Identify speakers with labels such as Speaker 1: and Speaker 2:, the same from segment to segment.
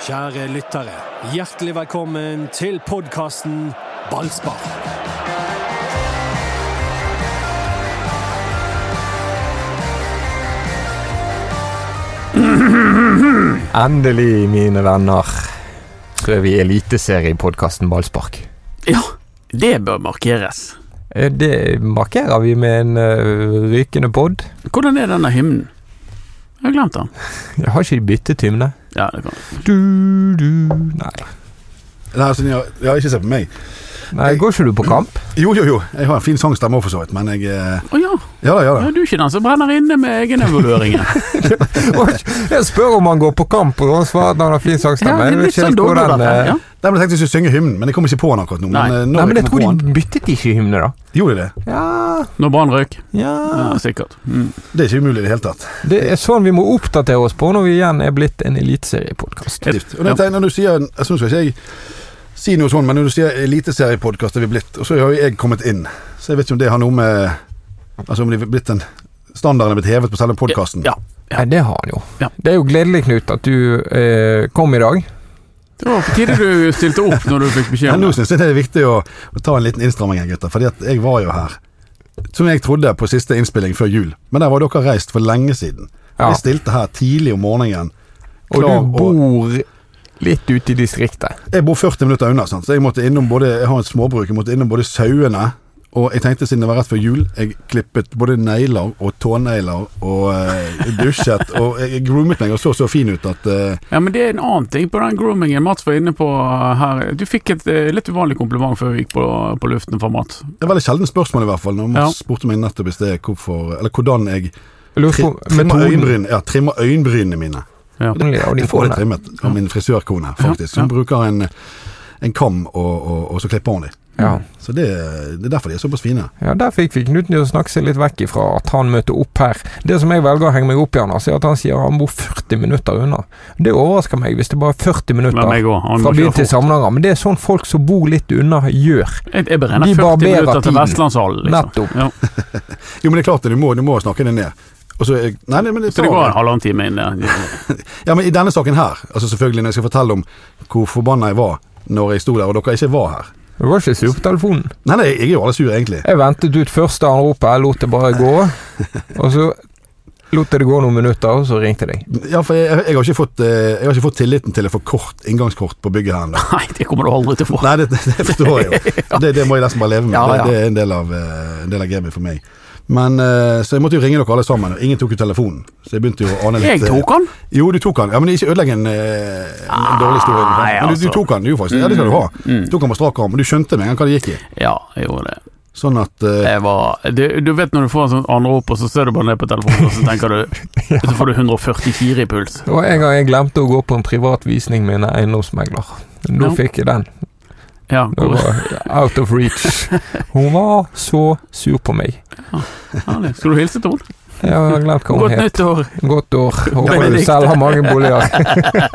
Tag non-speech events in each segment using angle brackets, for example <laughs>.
Speaker 1: Kjære lyttere, hjertelig velkommen til podkasten Ballspar.
Speaker 2: Endelig, mine venner. Tror vi eliteserie i podkasten Ballspark.
Speaker 3: Ja, det bør markeres.
Speaker 2: Eh, Det markerer vi med en eh, rykende pod.
Speaker 3: Hvordan er denne hymnen? Jeg har glemt den.
Speaker 2: Jeg har ikke de byttet hymne?
Speaker 3: Ja, det kan
Speaker 2: Du, du Nei.
Speaker 4: Nei, altså, ja, ja, ikke se på meg.
Speaker 2: Nei, Går ikke du på
Speaker 3: <laughs>
Speaker 2: kamp?
Speaker 4: Jo, jo, jo. Jeg har en fin sangstemme òg, for så vidt, men jeg eh,
Speaker 3: Å ja,
Speaker 4: Ja da, ja
Speaker 3: ja,
Speaker 4: da.
Speaker 3: du er ikke den som brenner inne med
Speaker 2: <laughs>
Speaker 3: egenevalueringen.
Speaker 2: Jeg spør om han går på kamp, og han svarer at han har fin sangstemme.
Speaker 3: det
Speaker 2: Jeg vet
Speaker 3: er litt
Speaker 2: ikke
Speaker 3: sånn
Speaker 2: helt
Speaker 3: dårlig
Speaker 2: hvordan
Speaker 3: dette.
Speaker 2: eh,
Speaker 3: Ja.
Speaker 4: Nei, men Jeg tenkte jeg skulle synge hymnen, men jeg kom ikke på den akkurat nå.
Speaker 3: Nei.
Speaker 4: Men, eh, når
Speaker 2: Nei, men jeg
Speaker 4: kommer
Speaker 2: tror
Speaker 4: på den,
Speaker 2: de byttet ikke hymne, da.
Speaker 4: Gjorde de det?
Speaker 2: Ja,
Speaker 3: Når Brann røyk.
Speaker 2: ja.
Speaker 3: Ja, sikkert. Mm.
Speaker 4: Det er ikke umulig i det hele tatt.
Speaker 2: Det er sånn vi må oppdatere oss på når vi igjen er blitt en eliteseriepodkast.
Speaker 4: Definitivt. Og når, jeg tenker, når du sier Jeg synes ikke jeg si noe sånn, men når du sier eliteseriepodkast er vi blitt, og så har jo jeg kommet inn, så jeg vet ikke om det har noe med Altså om det er blitt en Standarden er blitt hevet på selve podkasten.
Speaker 3: Ja.
Speaker 2: Nei, det har han jo.
Speaker 3: Ja.
Speaker 2: Det er jo gledelig, Knut, at du eh, kom i dag.
Speaker 3: Det var på tide du stilte opp når du fikk beskjed
Speaker 4: Men
Speaker 3: om
Speaker 4: nå
Speaker 3: det.
Speaker 4: syns jeg det er viktig å, å ta en liten innstramming her, gutter. Fordi at jeg var jo her, som jeg trodde, på siste innspilling før jul. Men der var dere reist for lenge siden.
Speaker 2: Ja.
Speaker 4: Jeg stilte her tidlig om morgenen.
Speaker 2: Og
Speaker 4: klar,
Speaker 2: du bor litt ute i distriktet.
Speaker 4: Jeg bor 40 minutter unna, sant? så jeg måtte innom både Jeg har et småbruk, jeg måtte innom både sauene og jeg tenkte siden det var rett før jul, jeg klippet både negler og tånegler og eh, dusjet og jeg groomet meg og så så fin ut at eh,
Speaker 3: Ja, men det er en annen ting på den groomingen Mats var inne på eh, her. Du fikk et eh, litt uvanlig kompliment før vi gikk på, på luften fra Mats.
Speaker 4: Det var et veldig sjeldent spørsmål i hvert fall, når man
Speaker 3: Ja.
Speaker 4: spurte meg nettopp i sted hvorfor Eller hvordan jeg
Speaker 2: Jeg lurer
Speaker 4: tri
Speaker 2: på
Speaker 4: trimmer
Speaker 2: metoden.
Speaker 4: øyenbryn, ja, trimmer øyenbrynene mine.
Speaker 2: Ja,
Speaker 3: Ja.
Speaker 2: de
Speaker 4: Jeg får
Speaker 2: får
Speaker 4: det
Speaker 2: det.
Speaker 4: trimmet av min frisørkone, faktisk.
Speaker 3: Ja,
Speaker 4: Hun
Speaker 3: ja.
Speaker 4: bruker en, en kam, og, og, og så klipper hun dem.
Speaker 2: Ja.
Speaker 4: Så det, det er derfor de er såpass fine.
Speaker 2: ja, der fikk vi Knut til å snakke seg litt vekk ifra at han møtte opp her. Det som jeg velger å henge meg opp i, Anders, er at han sier han bor 40 minutter unna. Det overrasker meg hvis det bare er 40
Speaker 3: Men
Speaker 2: minutter
Speaker 3: meg òg. Han
Speaker 2: fra
Speaker 3: må
Speaker 2: byen
Speaker 3: kjøre
Speaker 2: til
Speaker 3: fort.
Speaker 2: Samnanger. Men det er sånn folk som bor litt unna, gjør.
Speaker 3: Jeg, jeg beregner
Speaker 2: De
Speaker 3: 40
Speaker 2: barberer
Speaker 3: minutter til
Speaker 2: tiden.
Speaker 3: Vestlandshallen, liksom.
Speaker 2: Nettopp.
Speaker 3: Ja.
Speaker 4: Jo, men det er klart det, du må, du må snakke det ned. Og så, nei, nei, men det
Speaker 3: Så det
Speaker 4: tar-
Speaker 3: går en halvannen time inn der. <laughs>
Speaker 4: Ja, men I denne saken her, altså selvfølgelig når jeg skal fortelle om hvor forbanna jeg var når jeg sto der og dere ikke var her
Speaker 2: Du var ikke sur på telefonen.
Speaker 4: Nei, nei, jeg er jo alle sur, egentlig.
Speaker 2: Jeg ventet ut første anropet, jeg lot det bare gå. Og så lot jeg det gå noen minutter, og så ringte jeg deg.
Speaker 4: Ja, for jeg, jeg, har ikke fått, eh, jeg har ikke fått tilliten til å få kort inngangskort på bygget
Speaker 3: <laughs>
Speaker 4: her ennå.
Speaker 3: Nei, det kommer du aldri til å få.
Speaker 4: Nei, det, det forstår jeg jo. Det, det må jeg nesten bare leve med.
Speaker 3: Ja, ja.
Speaker 4: Det, det er en del av, eh, en del av gamet for meg. Men, eh, Så jeg måtte jo ringe dere alle sammen, og ingen tok jo telefonen. Så jeg begynte jo å ane litt
Speaker 3: Jeg tok
Speaker 4: han?
Speaker 3: han.
Speaker 4: Jo, du tok han. Ja, Men ikke ødelegg en, eh, en dårlig historie.
Speaker 3: Nei,
Speaker 4: Men du,
Speaker 3: altså.
Speaker 4: du tok han, du faktisk. Ja, det skal du ha.
Speaker 3: Mm.
Speaker 4: Du tok han på strak arm, og du skjønte med en gang hva det gikk i.
Speaker 3: Ja, jeg gjorde det.
Speaker 4: Sånn at eh,
Speaker 3: Jeg var, du, du vet når du får en sånn anrop, og så ser du bare ned på telefonen, og så tenker du Så får du 144 i puls.
Speaker 2: Det var en gang jeg glemte å gå på en privat visning med en eiendomsmegler. Nå
Speaker 3: Ja.
Speaker 2: fikk jeg den.
Speaker 3: Ja,
Speaker 2: Det
Speaker 3: hvor,
Speaker 2: var out of reach. Hun var så sur på meg.
Speaker 3: herlig. Skal du hilse til henne?
Speaker 2: Jeg har glemt hva hun
Speaker 3: Godt
Speaker 2: het.
Speaker 3: nyttår.
Speaker 2: Godt år. Håper du
Speaker 3: Benedikte.
Speaker 2: selv har mange boliger.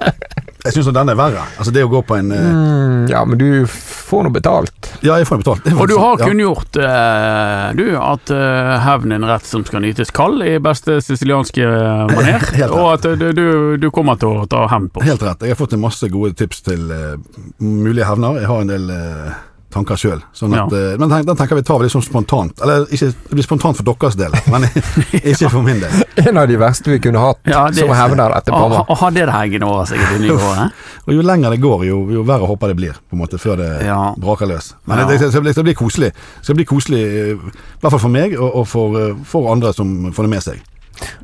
Speaker 4: jeg syns den er verre. Altså det å gå på en eh,
Speaker 2: Mm, ja, men du får nå betalt.
Speaker 4: Ja, jeg får den betalt. Det er
Speaker 3: Og du
Speaker 4: faktisk-
Speaker 3: har
Speaker 4: ja.
Speaker 3: kunngjort, eh, du, at eh, hevn er en rett som skal nytes kald i beste sicilianske maner,
Speaker 4: Helt rett.
Speaker 3: og at eh, du, du, du kommer til å ta hevn på oss.
Speaker 4: Helt rett. Jeg har fått en masse gode tips til eh, mulige hevner. Jeg har en del eh, tanker sjøl. Sånn at,
Speaker 3: Ja.
Speaker 4: eh, men den, den tenker vi tar vel litt sånn spontant. Eller ikke, det blir spontant for deres del,
Speaker 3: <laughs>
Speaker 4: men ikke for min del.
Speaker 2: En av de verste vi kunne hatt
Speaker 3: Ja, det-
Speaker 2: som hevner dette
Speaker 3: Og ha-
Speaker 2: paret.
Speaker 3: og ha det hengende over seg i eh? det nye året.
Speaker 4: Og jo lenger det går, jo, jo verre håper jeg det blir, på en måte, før det
Speaker 3: Ja.
Speaker 4: braker løs. Men
Speaker 3: Ja.
Speaker 4: det, det, det, det blir koselig. Det skal bli koselig, eh, i hvert fall for meg, og, og for, eh, for andre som får det med seg.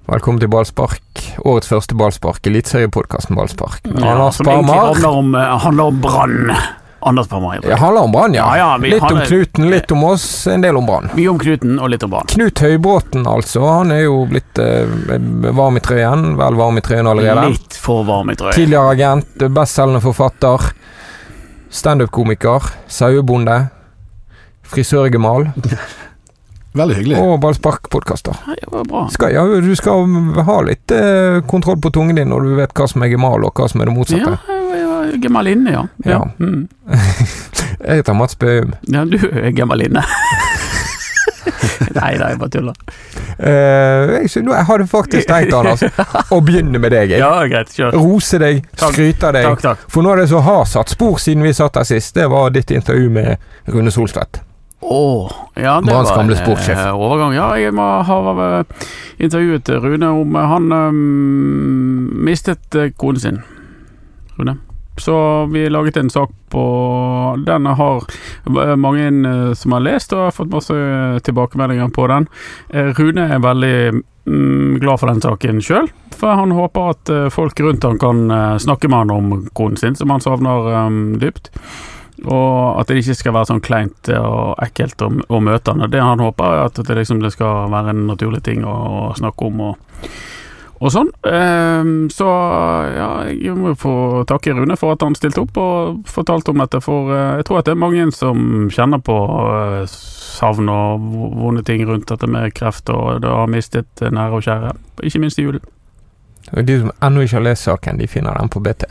Speaker 2: Velkommen til Ballspark. Årets første ballspark. Eliteseriepodkasten Ballspark.
Speaker 3: Ja,
Speaker 2: Anders
Speaker 3: som egentlig
Speaker 2: Barmar.
Speaker 3: handler om, eh, handler om brann. Anders Parmar.
Speaker 2: Det handler om Brann, ja.
Speaker 3: Ja, ja, vi
Speaker 2: Litt om
Speaker 3: handler-
Speaker 2: Knuten, litt om oss, en del om Brann.
Speaker 3: Mye om Knuten og litt om brann.
Speaker 2: Knut Høybråten, altså. Han er jo blitt eh, varm i trøyen. Vel varm i trøyen allerede.
Speaker 3: Litt for varm i trøya.
Speaker 2: Tidligere agent, bestselgende forfatter. Standup-komiker. Sauebonde. Frisørgemal.
Speaker 4: Veldig hyggelig.
Speaker 2: Og ballsparkpodkaster.
Speaker 3: Ja, Det var bra.
Speaker 2: Skal- Ja, du skal ha litt eh, kontroll på tungen din når du vet hva som er gemal, og hva som er det
Speaker 3: Ja,
Speaker 2: motsatte.
Speaker 3: jeg var gemalinne, ja. Ja,
Speaker 2: Ja.
Speaker 3: Mm.
Speaker 2: Jeg heter Mats Bøum.
Speaker 3: ja du er gemalinne. <laughs> Nei da, jeg bare tuller.
Speaker 2: Eh, jeg, synes, jeg hadde faktisk tenkt Anders,
Speaker 3: <laughs>
Speaker 2: å begynne med deg. Jeg.
Speaker 3: Ja, greit. Kjør.
Speaker 2: Rose deg,
Speaker 3: Takk.
Speaker 2: skryte av deg.
Speaker 3: Takk, takk.
Speaker 2: For noe av det som har satt spor siden vi satt der sist, det var ditt intervju med Rune Solstvedt.
Speaker 3: Åh, ja, det
Speaker 2: Branns
Speaker 3: var
Speaker 2: gamle
Speaker 3: en
Speaker 2: sportssjef.
Speaker 3: eh, overgang. Ja, jeg må- har eh, intervjuet Rune om eh, Han eh, mistet eh, konen sin, Rune. Så vi laget en sak på Den har eh, mange eh, som har lest, og har fått masse eh, tilbakemeldinger på den. Eh, Rune er veldig mm, glad for den saken sjøl, for han håper at eh, folk rundt han kan eh, snakke med han om konen sin, som han savner eh, dypt. Og at det ikke skal være sånn kleint og ekkelt å, å møte han. Og det han håper, er at det, liksom, det skal være en naturlig ting å, å snakke om og, og sånn. Ehm, så ja, jeg må jo få takke Rune for at han stilte opp og fortalte om dette. For eh, jeg tror at det er mange som kjenner på eh, savn og v- vonde ting rundt dette med kreft, og det har mistet nære og kjære. Ikke minst i julen.
Speaker 2: Og De som ennå ikke har lest saken, de finner den på BT.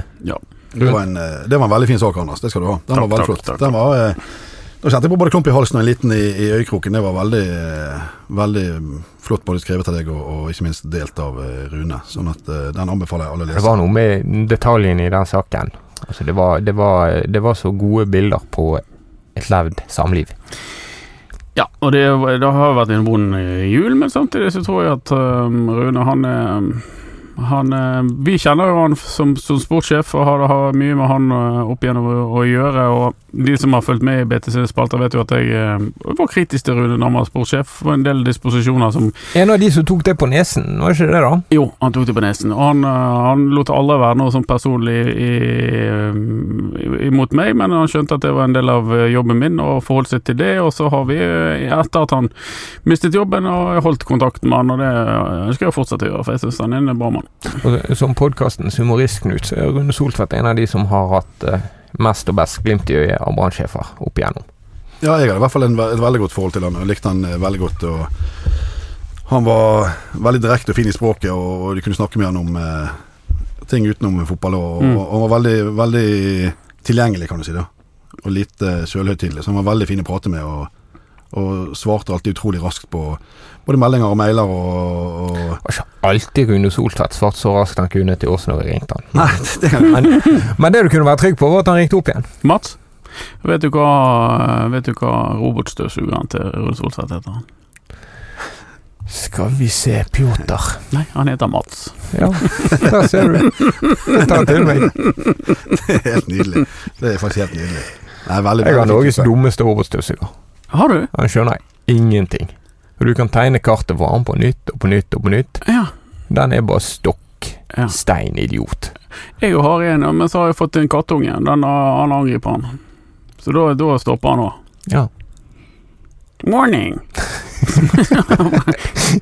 Speaker 4: Det var, en, eh, det var en veldig fin sak, Anders. Det skal du ha. Den
Speaker 3: Takk,
Speaker 4: var veldig
Speaker 3: takk,
Speaker 4: flott.
Speaker 3: takk.
Speaker 4: Den var, eh, da kjente jeg på både klump i halsen og en liten i, i øyekroken. Det var veldig, eh, veldig flott både skrevet av deg og, og ikke minst delt av eh, Rune. Sånn at eh, den anbefaler jeg alle å
Speaker 2: Det
Speaker 4: lese.
Speaker 2: var noe med detaljene i den saken. Altså, det, var, det, var, det var så gode bilder på et levd samliv.
Speaker 3: Ja, og det, det har vært en vond eh, jul, men samtidig så tror jeg at øhm, Rune, han er han, er- vi kjenner jo han som, som sportssjef og har, har mye med han øh, opp igjennom å, å gjøre. Og de som har fulgt med i BTC-spalter, vet jo at jeg øhm, var kritisk til Rune når han var sportssjef. Det var en del disposisjoner som
Speaker 2: En av de som tok det på nesen, var ikke det, da?
Speaker 3: jo, han tok det på nesen. Og han, øh, han lot aldri være noe sånn personlig i, øhm, i- imot meg, men han skjønte at det var en del av øh, jobben min og forholdt seg til det. Og så har vi, øh, etter at han mistet jobben, og jeg holdt kontakten med han, og det øh, ønsker jeg å fortsette å gjøre, for jeg syns han er en bra mann.
Speaker 2: Og som podkastens humorist, Knut, så er Rune Soltvedt en av de som har hatt eh, mest og best glimt i øyet av brannsjefer opp igjennom.
Speaker 4: Ja, jeg hadde i hvert fall en, ve- et veldig godt forhold til han og likte han eh, veldig godt. Og han var veldig direkte og fin i språket, og, og du kunne snakke med han om eh, ting utenom fotball. Og,
Speaker 3: Mm.
Speaker 4: og, og han var veldig, veldig tilgjengelig, kan du si. da Og lite sjølhøytidelig. Så han var veldig fin å prate med, og, og svarte alltid utrolig raskt på både meldinger og mailer og, og
Speaker 2: Det var ikke alltid Rune Soltvedt svarte så raskt han kunne til oss når vi ringte han.
Speaker 4: Nei, det kan
Speaker 2: Men, men det du kunne være trygg på, var at han ringte opp igjen.
Speaker 3: Mats, vet du hva, eh, vet du hva robotstøvsugeren til Rune Solseth heter? han?
Speaker 2: Skal vi se, Pjotr.
Speaker 3: Nei, han heter Mats.
Speaker 2: Ja, der ser du. Det tar til meg.
Speaker 4: det er <laughs> helt nydelig. Det er faktisk helt nydelig. Nei, veldig,
Speaker 2: Jeg har
Speaker 4: veldig
Speaker 2: Norges
Speaker 4: fint.
Speaker 2: dummeste robotstøvsuger.
Speaker 3: Har du?
Speaker 2: Han skjønner ingenting. Og du kan tegne kartet for ham på nytt og på nytt og på nytt.
Speaker 3: Ja.
Speaker 2: Den er bare stokk
Speaker 3: Ja.
Speaker 2: stein idiot.
Speaker 3: Jeg jo har en, men så har jeg fått en kattunge. Den har- han angriper han. Så da, da stopper han òg.
Speaker 2: Ja.
Speaker 3: Warning!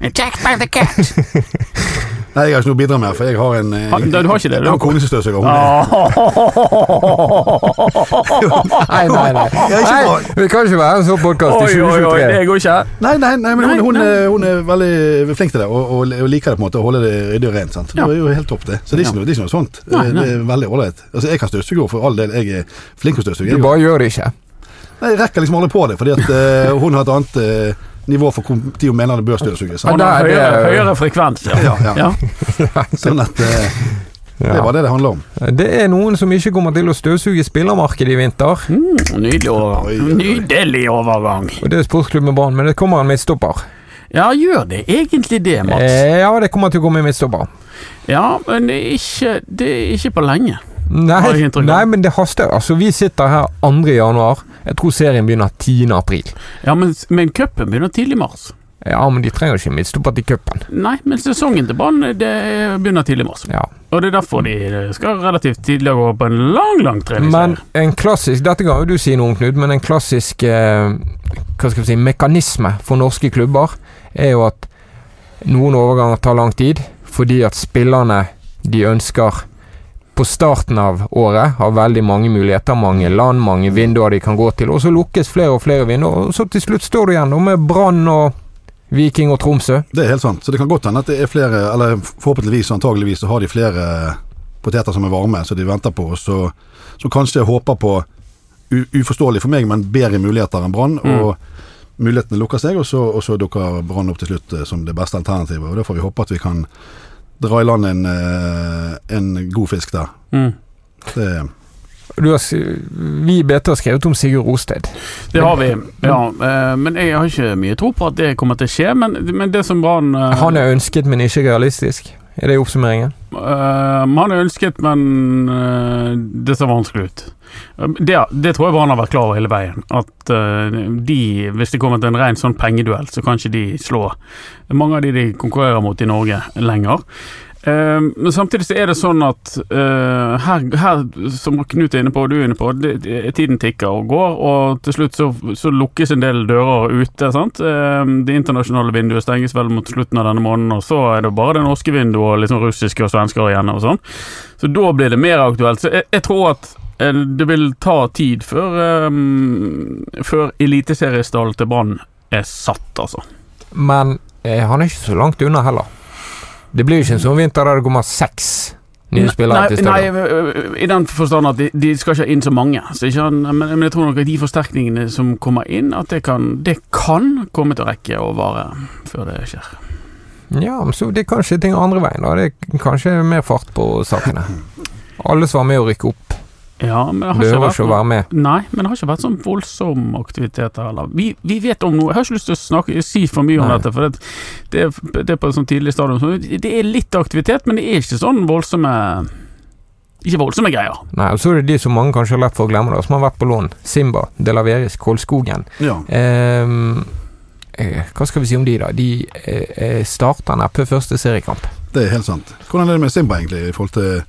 Speaker 3: Attacked by the cat!
Speaker 4: Nei, jeg har ikke noe å bidra med, for jeg har en eh,
Speaker 3: Ha, nei, du har ikke det?
Speaker 4: Jeg har kone som støvsuger. Hun er-
Speaker 2: Nei, nei, nei.
Speaker 4: <laughs> Ja, ikke bra.
Speaker 2: nei vi kan ikke være en sånn podkast i
Speaker 3: <laughs> Oi, oi, oi,
Speaker 2: 2023.
Speaker 3: det går ikke.
Speaker 4: Nei, nei, nei, men
Speaker 3: Nei,
Speaker 4: hun, hun,
Speaker 3: nei.
Speaker 4: Er, hun er veldig flink til det, og, og, og liker det på en måte, å holde det ryddig og rent. sant?
Speaker 3: Ja.
Speaker 4: Det er jo helt topp, det. Så det er ikke noe, det er ikke noe sånt.
Speaker 3: Nei,
Speaker 4: Det-
Speaker 3: nei.
Speaker 4: Det er veldig ålreit. Altså, jeg kan støvsuge for all del, jeg er flink til å støvsuge.
Speaker 2: Du
Speaker 4: Jeg-
Speaker 2: bare gjør det ikke.
Speaker 4: Nei, jeg rekker liksom aldri på det, fordi at eh, hun har et annet eh, nivå for hvor tid hun mener det bør støvsuges.
Speaker 2: Ja,
Speaker 4: sant?
Speaker 3: Han har
Speaker 2: det er-
Speaker 3: høyere, høyere frekvens, ja.
Speaker 4: Ja, ja.
Speaker 3: ja.
Speaker 4: Sånn at eh, det var det det handler om.
Speaker 2: Det er noen som ikke kommer til å støvsuge spillermarkedet i vinter.
Speaker 3: Mm, nydelig
Speaker 4: Oi,
Speaker 3: overgang.
Speaker 4: oi, oi.
Speaker 3: Nydelig overgang.
Speaker 2: Og det er sportsklubben Brann, men det kommer en midtstopper.
Speaker 3: Ja, gjør det egentlig det, Mats?
Speaker 2: Eh, ja, det kommer til å komme en midtstopper.
Speaker 3: Ja, men ikke, det er ikke på lenge. Har jeg
Speaker 2: Nei,
Speaker 3: inntrykk av.
Speaker 2: nei, men det haster. Altså, vi sitter her 2. januar. Jeg tror serien begynner 10. april.
Speaker 3: Ja, Men, men cupen begynner tidlig i mars.
Speaker 2: Ja, men de trenger ikke midtstopper til cupen.
Speaker 3: Nei, men sesongen til Brann det begynner tidlig i mars.
Speaker 2: Ja.
Speaker 3: Og det er derfor de skal relativt tidlig gå på en lang, lang treningsleir.
Speaker 2: Men en klassisk Dette kan jo du si noe om, Knut, men en klassisk eh, hva skal vi si, mekanisme for norske klubber er jo at noen overganger tar lang tid fordi at spillerne de ønsker på starten av året har veldig mange muligheter, mange land, mange vinduer de kan gå til, og så lukkes flere og flere vinduer, og så til slutt står du igjen da med Brann og Viking og Tromsø.
Speaker 4: Det er helt sant. Så det kan godt hende at det er flere, eller forhåpentligvis og antageligvis så har de flere poteter som er varme, så de venter på, og så,
Speaker 2: Mm.
Speaker 4: så kanskje håper på u uforståelig for meg, men bedre muligheter enn Brann. Og mulighetene lukker seg, og så, og så dukker Brann opp til slutt eh, som det beste alternativet. Og Da får vi håpe at vi kan dra i land en, eh, en god fisk der.
Speaker 3: Mm.
Speaker 4: Det,
Speaker 2: Du har, s- vi i BT har skrevet om Sigurd Rosted.
Speaker 3: Det har vi, ja. eh, Men jeg har ikke mye tro på at det kommer til å skje. Men, men det som Brann eh,
Speaker 2: Han er ønsket, men ikke realistisk. Er det oppsummeringen?
Speaker 3: Eh, man har ønsket, men eh, det ser vanskelig ut. Eh, Det, det tror jeg Brann har vært klar over hele veien. At eh, de, hvis det kommer til en ren sånn pengeduell, så kan ikke de slå mange av de de konkurrerer mot i Norge, lenger. Eh, men samtidig så er det sånn at eh, her, her, som Knut er inne på, og du er inne på, det, det, tiden tikker og går, og til slutt så, så lukkes en del dører ute. sant? Eh, det internasjonale vinduet stenges vel mot slutten av denne måneden, og så er det bare det norske vinduet og liksom russiske og svensker igjen og sånn. Så da blir det mer aktuelt. Så jeg, jeg tror at eh, det vil ta tid før, eh, før eliteseriestallen til Brann er satt, altså.
Speaker 2: Men eh, han er ikke så langt unna heller. Det blir jo ikke en sånn vinter der det kommer seks nye spillere til
Speaker 3: nei,
Speaker 2: stadion.
Speaker 3: nei, ø- ø- i den forstand at de, de skal ikke inn så mange. Så ikke han, men, men jeg tror nok at de forsterkningene som kommer inn, at det kan, det kan komme til å rekke å vare før det skjer.
Speaker 2: Ja, men så det er kanskje ting andre veien, da. Det er kanskje mer fart på sakene. Alle som var med å rykke opp,
Speaker 3: Ja, men det har ikke
Speaker 2: behøver
Speaker 3: vært
Speaker 2: ikke å
Speaker 3: noe-
Speaker 2: være med.
Speaker 3: Nei, men det har ikke vært sånn voldsom aktivitet her heller. Vi, vi vet om noe Jeg har ikke lyst til å snakke, si for mye om
Speaker 2: Nei.
Speaker 3: dette, for det, det, er- det er på et sånt tidlig stadium. Så det er litt aktivitet, men det er ikke sånn voldsomme Ikke voldsomme greier.
Speaker 2: Nei, og så er det de som mange kanskje har lett for å glemme, da, som har vært på lån. Simba, De Laveris, Kolskogen.
Speaker 4: ja.
Speaker 2: Ehm, eh, hva skal vi si om de, da? De eh, eh, starter neppe første seriekamp.
Speaker 4: Det er helt sant. Hvordan er det med Simba, egentlig? i
Speaker 2: <laughs>
Speaker 4: forhold til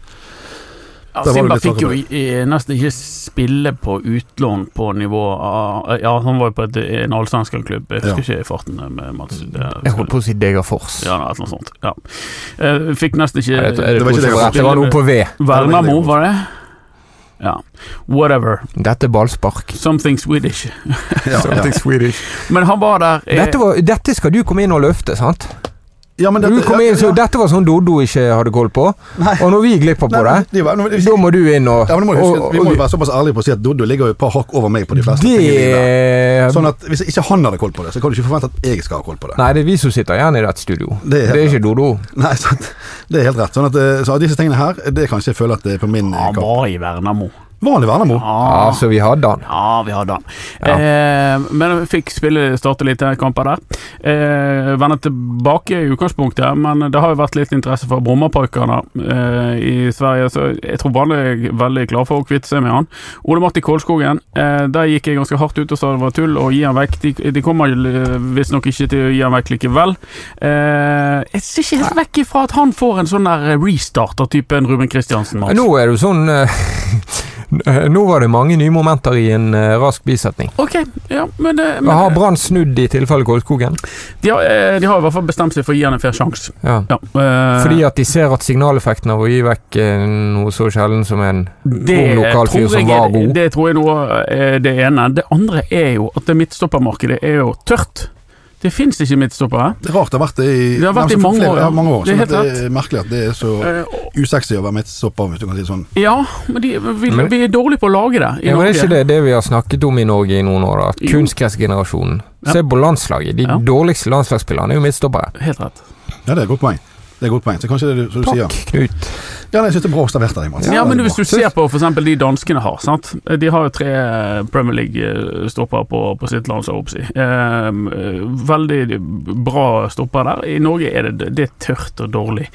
Speaker 3: Ja,
Speaker 4: Der var
Speaker 3: Simba
Speaker 4: det litt
Speaker 3: fikk jo i- i nesten ikke spille på utlån på nivå av Ja, han var jo på et, en allsvenskerklubb, jeg husker ikke i farten med Mats. Det,
Speaker 2: Mm. Jeg holdt på å si Degerfors.
Speaker 3: Ja, et eller annet sånt. Ja. Eh, Fikk nesten ikke
Speaker 2: Er det, er det,
Speaker 4: Det var ikke
Speaker 2: to som var
Speaker 3: Degerfors.
Speaker 2: rett? det var noe på V.
Speaker 3: Vernamo, var det? Ja. Whatever.
Speaker 2: Dette er ballspark.
Speaker 3: Something Swedish.
Speaker 4: Ja, ja.
Speaker 3: Men han var der eh,
Speaker 2: Dette, var, dette skal du komme inn og løfte, sant?
Speaker 4: ja men
Speaker 2: du kom inn, så, Dette var sånn Dodo ikke hadde koll på,
Speaker 4: Nei.
Speaker 2: og når vi glipper på
Speaker 4: <laughs> Nei,
Speaker 2: det,
Speaker 4: men de var- nå- vi-
Speaker 2: da må du inn og,
Speaker 4: Ja, men du må
Speaker 2: og,
Speaker 4: huske, at vi må jo være såpass ærlige på å si at Doddo ligger jo et par hakk over meg på de fleste. tingene der.
Speaker 2: det
Speaker 4: Sånn at Hvis ikke han hadde koll på det, så kan du ikke forvente at jeg skal ha koll på det.
Speaker 2: Nei, det er vi som sitter igjen i dette studio. Det
Speaker 4: Det er
Speaker 2: er,
Speaker 4: helt
Speaker 2: ikke Dodo.
Speaker 4: Nei, sant? Det er helt rett. Sånn at, eh, så av disse tingene her, det kan ikke jeg føle at det er på min eh,
Speaker 3: Han
Speaker 4: kapp.
Speaker 3: var i Vernamo.
Speaker 4: Var han i Vernamo?
Speaker 2: Ja, så vi hadde han.
Speaker 3: Ja, vi hadde han. Eh, men jeg fikk spille starte litt kamper der. Eh, Vende tilbake i utgangspunktet, men det har jo vært litt interesse for Brommaparkene eh, i Sverige, så jeg tror Brann er veldig klar for å kvitte seg med han. Ole Martin Kolskogen, eh, der gikk jeg ganske hardt ut og sa det var tull å gi han vekk. De, de kommer eh, visstnok ikke til å gi han vekk likevel. Eh, jeg ser ikke helt vekk ifra at han får en sånn der restart av typen Ruben Kristiansen. Mats.
Speaker 2: Nå er det jo sånn eh, <laughs> Nå var det mange nye momenter i en eh, rask bisetning.
Speaker 3: Ok, ja, men det men,
Speaker 2: Har Brann snudd i tilfelle Kolskogen?
Speaker 3: De har, eh, de har i hvert fall bestemt seg for å gi han en fair sjanse.
Speaker 2: Ja.
Speaker 3: Ja, eh,
Speaker 2: Fordi at de ser at signaleffekten av å gi vekk eh, noe så sjelden som en
Speaker 3: det
Speaker 2: om lokal fyr
Speaker 3: tror
Speaker 2: som
Speaker 3: jeg
Speaker 2: var
Speaker 3: er-
Speaker 2: god.
Speaker 3: Det tror jeg nå er det ene. Det andre er jo at det midtstoppermarkedet er jo tørt. Det fins ikke midtstoppere.
Speaker 4: Det er rart det har vært det i,
Speaker 3: Det har vært
Speaker 4: nærmest
Speaker 3: i mange
Speaker 4: flere-
Speaker 3: år, ja.
Speaker 4: Ja, mange år
Speaker 3: Det er
Speaker 4: sånn at
Speaker 3: helt
Speaker 4: det er merkelig at det er så
Speaker 3: Eh,
Speaker 4: usexy å være midtstopper, hvis du kan si det sånn.
Speaker 3: Ja, men de, vi,
Speaker 2: Men-
Speaker 3: vi er dårlige på å lage det. i
Speaker 2: Ja, men det er
Speaker 3: Norge.
Speaker 2: ikke det, det vi har snakket om i Norge i noen år, da. At
Speaker 3: Jo.
Speaker 2: kunstgressgenerasjonen
Speaker 3: Ja.
Speaker 2: Se på landslaget. De
Speaker 3: Ja.
Speaker 2: dårligste landslagsspillerne er jo midtstoppere.
Speaker 3: Helt rett.
Speaker 4: Ja, det er et godt poeng. Det er et godt poeng. Så kanskje det er det som du sier.
Speaker 2: Takk, Knut.
Speaker 4: Ja, nei, jeg synes det er bra observert av deg, Mats.
Speaker 3: Ja, men
Speaker 4: det er
Speaker 3: hvis
Speaker 4: bra.
Speaker 3: du ser på f.eks. de danskene har, sant? De har jo tre Premier League-stopper på, på sitt land, så å si. Ehm, eh, veldig bra stopper der. I Norge er det, det er tørt og dårlig.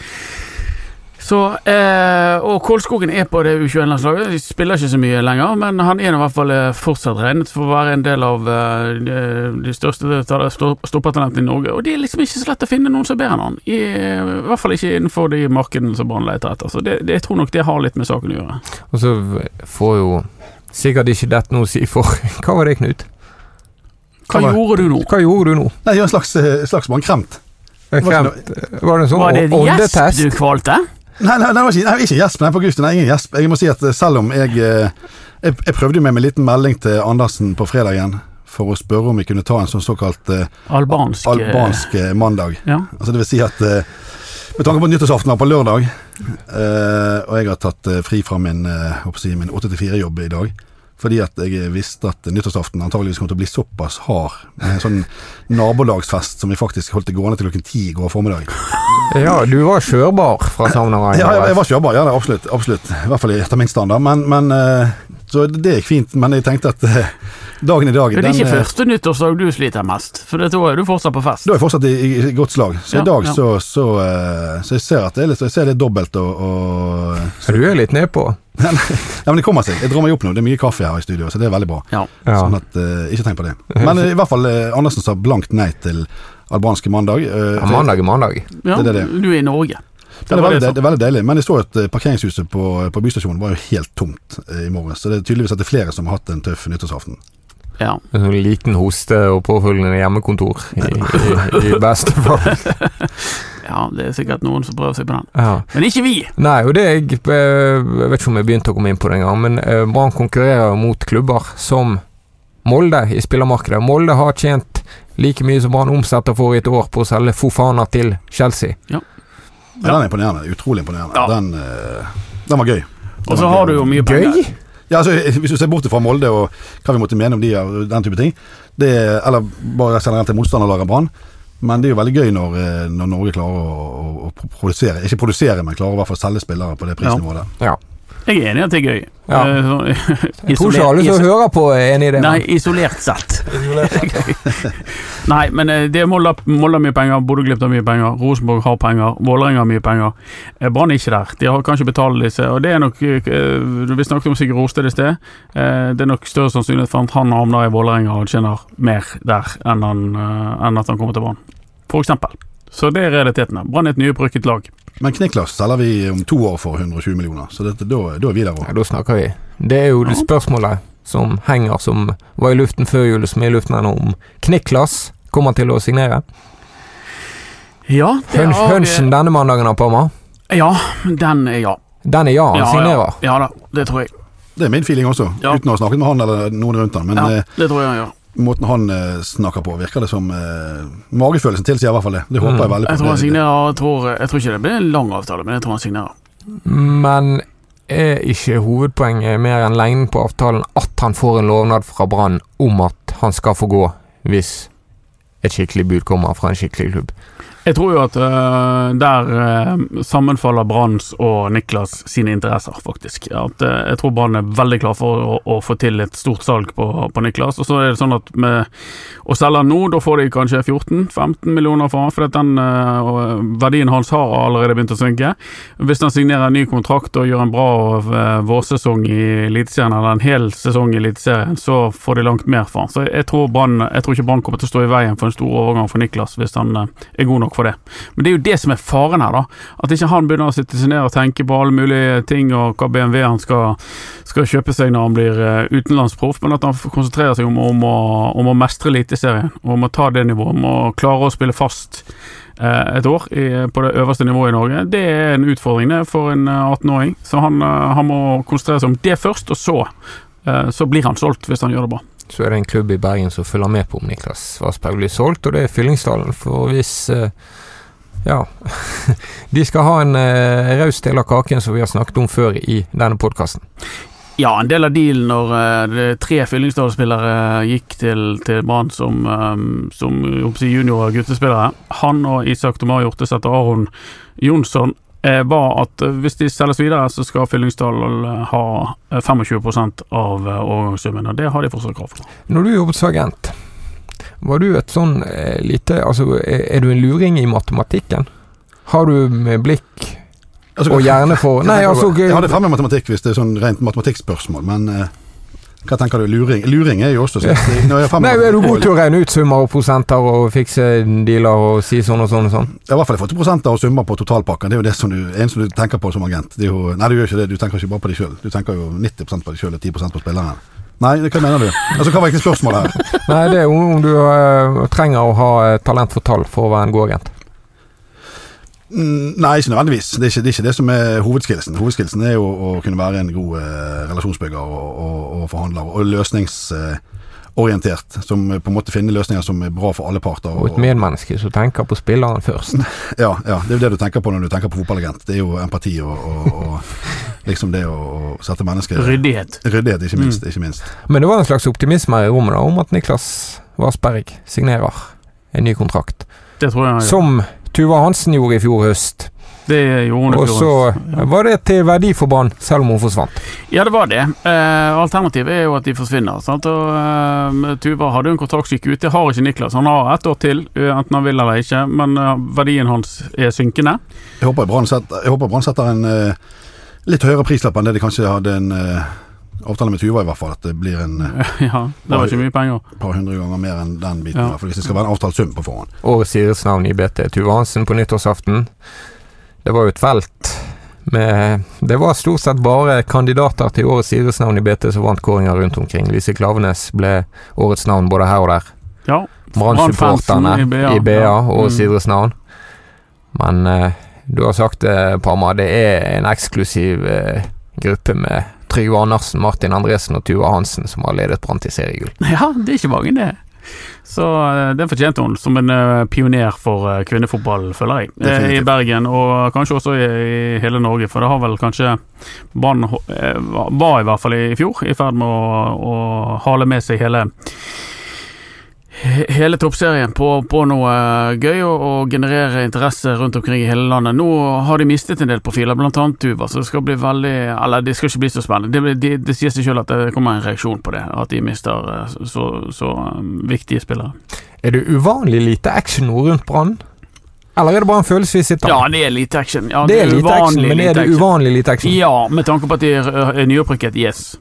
Speaker 3: Så, eh, og Kolskogen er på det U21-landslaget. De spiller ikke så mye lenger, men han er i hvert fall eh, fortsatt regnet for å være en del av eh, de- de største ta- sto- stoppertalentene i Norge. Og det er liksom ikke så lett å finne noen som er bedre enn han. I, eh, I hvert fall ikke innenfor de markedene som Brann leter etter. Så det, det, jeg tror nok det har litt med saken å gjøre.
Speaker 2: Og så v- får jo sikkert ikke dette noe å si for <laughs> Hva var det, Knut?
Speaker 3: Hva
Speaker 4: Hva var-
Speaker 3: gjorde du nå?
Speaker 2: Hva gjorde du nå?
Speaker 4: Nei, gjør en slags, eh, slags bankkremt.
Speaker 2: Jeg
Speaker 4: Var
Speaker 2: Kremt. Var det en sånn
Speaker 3: Var
Speaker 2: å-
Speaker 3: det en gjesp
Speaker 2: åndetest?
Speaker 3: du kvalte?
Speaker 4: Nei, nei, nei, det var ikke, nei, ikke gjesp. Nei, på Gusten, nei, ingen gjesp. Jeg må si at eh, selv om jeg eh, Jeg, jeg prøvde jo med en liten melding til Andersen på fredagen for å spørre om vi kunne ta en sånn såkalt eh,
Speaker 3: Albansk, eh,
Speaker 4: albansk eh, mandag.
Speaker 3: Ja.
Speaker 4: Altså det vil si at eh, med tanke på at nyttårsaften var på lørdag, eh, og jeg har tatt eh, fri fra min, eh, håper jeg å si, min 8-4-jobb i dag Fordi at jeg visste at nyttårsaften antageligvis kom til å bli såpass hard med en sånn nabolagsfest som vi faktisk holdt det gående til klokken ti i går formiddag.
Speaker 2: Ja, du var kjørbar fra Samnanger.
Speaker 4: Ja, jeg, jeg var kjørbar, ja, det, absolutt, absolutt. I hvert fall etter min standard. Men, men eh, Så det gikk fint, men jeg tenkte at eh, dagen i dag
Speaker 3: Men det er
Speaker 4: den,
Speaker 3: ikke
Speaker 4: eh,
Speaker 3: første nyttårsdag du sliter mest, for da er du fortsatt på fest.
Speaker 4: Da er jeg fortsatt i, i, i godt slag. Så
Speaker 3: Ja,
Speaker 4: i dag
Speaker 3: ja.
Speaker 4: så, så eh, Så jeg ser at det er litt, jeg ser det er dobbelt og, og
Speaker 2: Så du er litt nedpå.
Speaker 4: Ja, men det kommer seg. Jeg drar meg opp nå. Det er mye kaffe her i studio, så det er veldig bra.
Speaker 3: Ja.
Speaker 2: Ja.
Speaker 4: Sånn at, eh, Ikke tenk
Speaker 3: <laughs>
Speaker 4: på det. Men eh, i hvert fall, eh, Andersen sa blankt nei til albanske mandag. eh,
Speaker 2: Ja, mandag er mandag.
Speaker 3: ja,
Speaker 4: Det er det.
Speaker 3: du er i Norge.
Speaker 4: Det, er
Speaker 3: var det
Speaker 4: veldig, det,
Speaker 3: jeg sa.
Speaker 4: er veldig deilig. Men jeg så at eh, parkeringshuset på, på bystasjonen var jo helt tomt eh, i morges. Så det er tydeligvis at det er flere som har hatt en tøff nyttårsaften.
Speaker 3: Ja.
Speaker 2: En sånn liten hoste og påfølgende hjemmekontor, i, i, i beste
Speaker 4: <laughs>
Speaker 2: fall.
Speaker 3: ja, det er sikkert noen som prøver seg på den.
Speaker 2: Ja.
Speaker 3: Men ikke vi!
Speaker 2: Nei, og det jeg, eh, jeg vet ikke om jeg begynte å komme inn på det engang, men eh, Brann konkurrerer mot klubber som Molde i spillermarkedet. Molde har tjent like mye som Brann omsetter for i et år på å selge Fofana til Chelsea.
Speaker 4: Men
Speaker 3: Ja.
Speaker 4: Den er imponerende. Utrolig imponerende.
Speaker 3: Ja.
Speaker 4: Den, eh, den var gøy.
Speaker 3: Og så har du jo mye penger.
Speaker 2: Gøy!
Speaker 4: Ja, altså, Hvis du ser bort fra Molde og hva vi måtte mene om de og den type ting, det er, eller bare generelt til motstanderlaget Brann, men det er jo veldig gøy når, eh, når Norge klarer å, å, å pro- produsere, ikke produsere, men klarer i hvert fall å selge spillere på det prisnivået der.
Speaker 2: Ja.
Speaker 3: Jeg er enig i at det er gøy.
Speaker 2: Ja.
Speaker 3: Eh, så- <laughs>
Speaker 2: Jeg tror ikke alle som
Speaker 3: isolert-
Speaker 2: hører på er enig i det.
Speaker 3: Nei, isolert sett. Nei, men eh, det er Molde Molde har mye penger, Bodø-Glimt har mye penger, Rosenborg har penger, Vålerenga har mye penger. Eh, Brann er ikke der. De har kanskje betalt disse, og det er nok eh, Vi snakket om Sigurd Rosted i sted. Eh, Det er nok større sannsynlighet for at han havner i Vålerenga og tjener mer der enn, han, eh, enn at han kommer til Brann, for eksempel. Så det er realitetene. Brann er et nyopprykket lag.
Speaker 4: Men Kniklas selger vi om to år for 120 millioner, så dette, da, da er vi
Speaker 2: <laughs>
Speaker 4: der
Speaker 2: Ja,
Speaker 4: òg.
Speaker 2: da snakker vi. Det er jo det
Speaker 3: Ja.
Speaker 2: spørsmålet som henger, som var i luften før jul, som er i luften ennå, om Kniklas kommer til å signere.
Speaker 3: Ja, det
Speaker 2: Hun-
Speaker 3: har vi-
Speaker 2: Hunchen denne mandagen, Apama.
Speaker 3: Ja, den er ja.
Speaker 2: Den er ja, han
Speaker 3: ja,
Speaker 2: signerer.
Speaker 3: ja da, det tror jeg.
Speaker 4: Det er min feeling også,
Speaker 3: Ja.
Speaker 4: uten å ha snakket med han eller noen rundt han. Men
Speaker 3: Ja,
Speaker 4: eh,
Speaker 3: det tror jeg han gjør.
Speaker 4: måten han eh, snakker på, virker det som eh, Magefølelsen tilsier i hvert fall det. Det håper
Speaker 2: Mm.
Speaker 4: jeg veldig på.
Speaker 3: Jeg tror han
Speaker 4: Det- det-
Speaker 3: signerer jeg tror, eh, jeg tror ikke det blir en lang avtale, men jeg tror han signerer.
Speaker 2: Men er ikke hovedpoenget mer enn lengden på avtalen at han får en lovnad fra Brann om at han skal få gå hvis et skikkelig bud kommer fra en skikkelig klubb?
Speaker 3: Jeg tror jo at øh, der øh, sammenfaller Branns og Niklas sine interesser, faktisk. At, øh, jeg tror Brann er veldig klar for å, å få til et stort salg på, på Niklas. Og så er det sånn at med å selge han nå, da får de kanskje 14-15 millioner for han, for at den øh, verdien hans har allerede begynt å synke. Hvis han signerer en ny kontrakt og gjør en bra øh, vårsesong i Eliteserien, eller en hel sesong i Eliteserien, så får de langt mer for han. Så jeg tror, Brann- jeg tror ikke Brann kommer til å stå i veien for en stor overgang for Niklas hvis han øh, er god nok for det. Men det er jo det som er faren her, da. At ikke han begynner å sitte seg ned og tenke på alle mulige ting og hva BMW han skal, skal kjøpe seg når han blir eh, utenlandsproff, men at han f- konsentrerer seg om, om, å, om å mestre Eliteserien, og om å ta det nivået, om å klare å spille fast eh, et år i, på det øverste nivået i Norge. Det er en utfordring det for en eh, 18-åring, så han, eh, han må konsentrere seg om det først, og så eh, så blir han solgt hvis han gjør det bra.
Speaker 2: Så er det en klubb i Bergen som følger med på om Niklas Vassberg blir solgt, og det er Fyllingsdalen. For hvis eh, Ja. <laughs> De skal ha en eh, raus del av kaken som vi har snakket om før i denne podkasten.
Speaker 3: Ja, en del av dealen når eh, det- tre Fyllingsdal-spillere eh, gikk til, til Brann som, um, som jeg håper å si, junior- og guttespillere. Han og Isak Tomar Hjorteseth og Aron Jonsson eh, var at eh, hvis de selges videre, så skal Fyllingsdal eh, ha eh, 25 av eh, overgangssummen. Og det har de fortsatt krav for.
Speaker 2: Når du jobbet som agent, var du et sånn eh, lite Altså, er er du en luring i matematikken? Har du med blikk
Speaker 4: Altså,
Speaker 2: og hjerne for Nei, altså
Speaker 4: Jeg hadde fremme matematikk hvis det er sånn rent matematikkspørsmål, men eh, hva tenker du? Luring Luring er jo også sånn. Når jeg har fremme-
Speaker 2: Nei, er du god til å regne ut summer og prosenter og fikse dealer og si sånn og sånn og sånn?
Speaker 4: <laughs> Ja, I hvert fall jeg får til prosenter og summer på totalpakken. Det er jo det som du, en som du tenker på som agent. Det er jo, nei, du gjør ikke det. Du tenker ikke bare på deg sjøl. Du tenker jo 90 på deg sjøl og 10 på spilleren. Nei, hva mener du? Altså, Hva var egentlig spørsmålet her?
Speaker 2: Nei, det er jo om du eh, trenger å ha eh, talent for tall for å være en god agent.
Speaker 4: Mm, Nei, ikke nødvendigvis. Det er ikke, det er ikke det som er hovedskillelsen. Hovedskillelsen er jo å kunne være en god eh, relasjonsbygger og, og, og forhandler, og løsningsorientert. Som eh, på en måte finner løsninger som er bra for alle parter.
Speaker 2: Og et medmenneske som tenker på spilleren først.
Speaker 4: Ja, ja, det er jo det du tenker på når du tenker på fotballagent. Det er jo empati og, <laughs> og, og liksom det å sette mennesker
Speaker 3: Ryddighet.
Speaker 4: Ryddighet, ikke minst. Ikke minst.
Speaker 2: Men det var en slags optimisme i rommet da, om at Niklas Vassberg signerer en ny kontrakt.
Speaker 3: Det tror jeg han gjorde.
Speaker 2: Som Tuva Hansen gjorde i fjor høst.
Speaker 3: Det gjorde hun i
Speaker 2: Og
Speaker 3: fjor.
Speaker 2: så eh, var det til verdi for Brann, selv om hun forsvant.
Speaker 3: Ja, det var det. Eh, alternativet er jo at de forsvinner. Sant? Og, eh, Tuva hadde jo en kontrakt som gikk ut. Det har ikke Niklas. Han har ett år til, eh, enten han vil eller ikke, men eh, verdien hans er synkende.
Speaker 4: Jeg håper Brann setter, jeg håper Brann setter en eh, litt høyere prislapp enn det de kanskje hadde en eh, avtale med Tuva, i hvert fall. At det blir en eh,
Speaker 3: <laughs> ja, det var ikke mye penger.
Speaker 4: par hundre ganger mer enn den biten.
Speaker 3: Ja.
Speaker 4: i hvert fall, Hvis det skal være en avtalt sum på forhånd.
Speaker 2: Årets idrettsnavn i BT, Tuva Hansen på nyttårsaften. Det var jo et felt med Det var stort sett bare kandidater til årets idrettsnavn i BT som vant kåringer rundt omkring. Lise Klavenes ble årets navn både her og der.
Speaker 3: Ja, <laughs>
Speaker 2: Brann-supporterne
Speaker 3: Brann-fansen i BA,
Speaker 2: i BA,
Speaker 3: ja.
Speaker 2: årets
Speaker 3: Mm.
Speaker 2: idrettsnavn. Men eh, du har sagt det, Parma, det er en eksklusiv eh, gruppe med Trygve Andersen, Martin Andresen og Tuva Hansen som har ledet Brann til seriegull.
Speaker 3: ja det er ikke mange, det. Så eh, den fortjente hun, som en eh, pioner for eh, kvinnefotball, føler jeg, eh, i
Speaker 4: Definitivt.
Speaker 3: Bergen. Og kanskje også i, i hele Norge, for det har vel kanskje Brann ho- eh, var i hvert fall i fjor i ferd med å, å hale med seg hele he- Hele toppserien på, på noe eh, gøy og, og generere interesse rundt omkring i hele landet. Nå har de mistet en del profiler, blant annet Tuva, så det skal bli veldig Eller det skal ikke bli så spennende. Det, blir- det, det sier seg selv at det kommer en reaksjon på det, at de mister eh, så, så eh, viktige spillere.
Speaker 2: Er det uvanlig lite action rundt Brann? Eller er det bare en følelse vi sitter
Speaker 3: Ja,
Speaker 2: med?
Speaker 3: det er lite action. Ja,
Speaker 2: det er lite action,
Speaker 3: uvanlig
Speaker 2: men
Speaker 3: lite
Speaker 2: er det
Speaker 3: action.
Speaker 2: uvanlig lite action?
Speaker 3: Ja, med tanke på at de er, er nyopprykket, yes.
Speaker 2: Ja,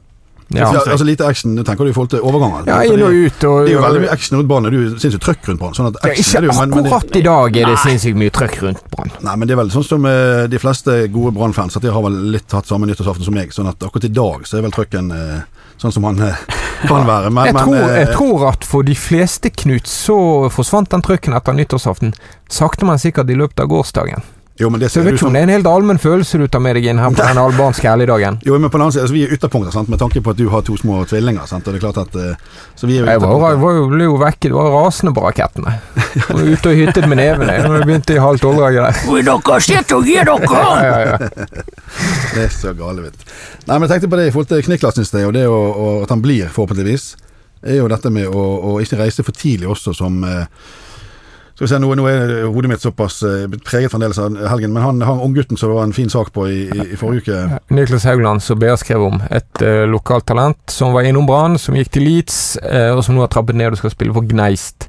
Speaker 4: Ja, altså Lite action det tenker du i forhold til overganger?
Speaker 2: ja
Speaker 4: For
Speaker 2: inn og
Speaker 4: det,
Speaker 2: ut og
Speaker 4: det er jo veldig mye action rundt banen. Det er jo sinnssykt trøkk rundt banen. Sånn at
Speaker 2: Ja,
Speaker 4: action er det jo,
Speaker 2: Ikke
Speaker 4: men, men, det,
Speaker 2: akkurat i dag er det sinnssykt mye trøkk rundt Brann.
Speaker 4: nei, men det er vel sånn som eh, de fleste gode Brann-fans, at de har vel litt hatt samme nyttårsaften som meg. Sånn at akkurat i dag så er vel trøkken eh, sånn som han
Speaker 2: <laughs>
Speaker 4: eh, kan være. Men,
Speaker 2: Jeg
Speaker 4: men,
Speaker 2: tror, jeg
Speaker 4: eh,
Speaker 2: tror at for de fleste, Knut, så forsvant den trøkken etter nyttårsaften. Sakte, men sikkert i løpet av gårsdagen.
Speaker 4: jo, men det
Speaker 2: Så
Speaker 4: ser
Speaker 2: jeg vet
Speaker 4: ut
Speaker 2: ikke
Speaker 4: som
Speaker 2: om det er en helt allmenn følelse du tar med deg inn
Speaker 4: <laughs>
Speaker 2: her på den albanske helligdagen.
Speaker 4: jo, men på den annen side, altså, Vi er ytterpunkter, sant? med tanke på at du har to små tvillinger. Sant? Og det er klart at eh, Så vi er jo
Speaker 2: Jeg var, jeg
Speaker 4: ytterpunkter.
Speaker 2: var jo, ble jo vekket, det var rasende på rakettene. Jeg var ute og hyttet med nevene når det begynte i halv tolv-draget
Speaker 4: <laughs>
Speaker 2: der.
Speaker 3: Hvor dere sitter og gir dere!
Speaker 2: Ja, ja, ja.
Speaker 4: <laughs> Det er så gale, vet du. Nei, men jeg tenkte på det i forhold til Kniklas i sted, og det å, å- at han blir, forhåpentligvis, er jo dette med å, å ikke reise for tidlig også, som eh, skal vi se, nå, nå er hodet mitt såpass eh, preget fremdeles av helgen, men han, han unggutten som det var en fin sak på i, i, i forrige uke
Speaker 2: Eh, Niklas Haugland, som BA skrev om. Et eh, lokalt talent som var innom Brann, som gikk til Leeds, eh, og som nå har trappet ned og skal spille for Gneist.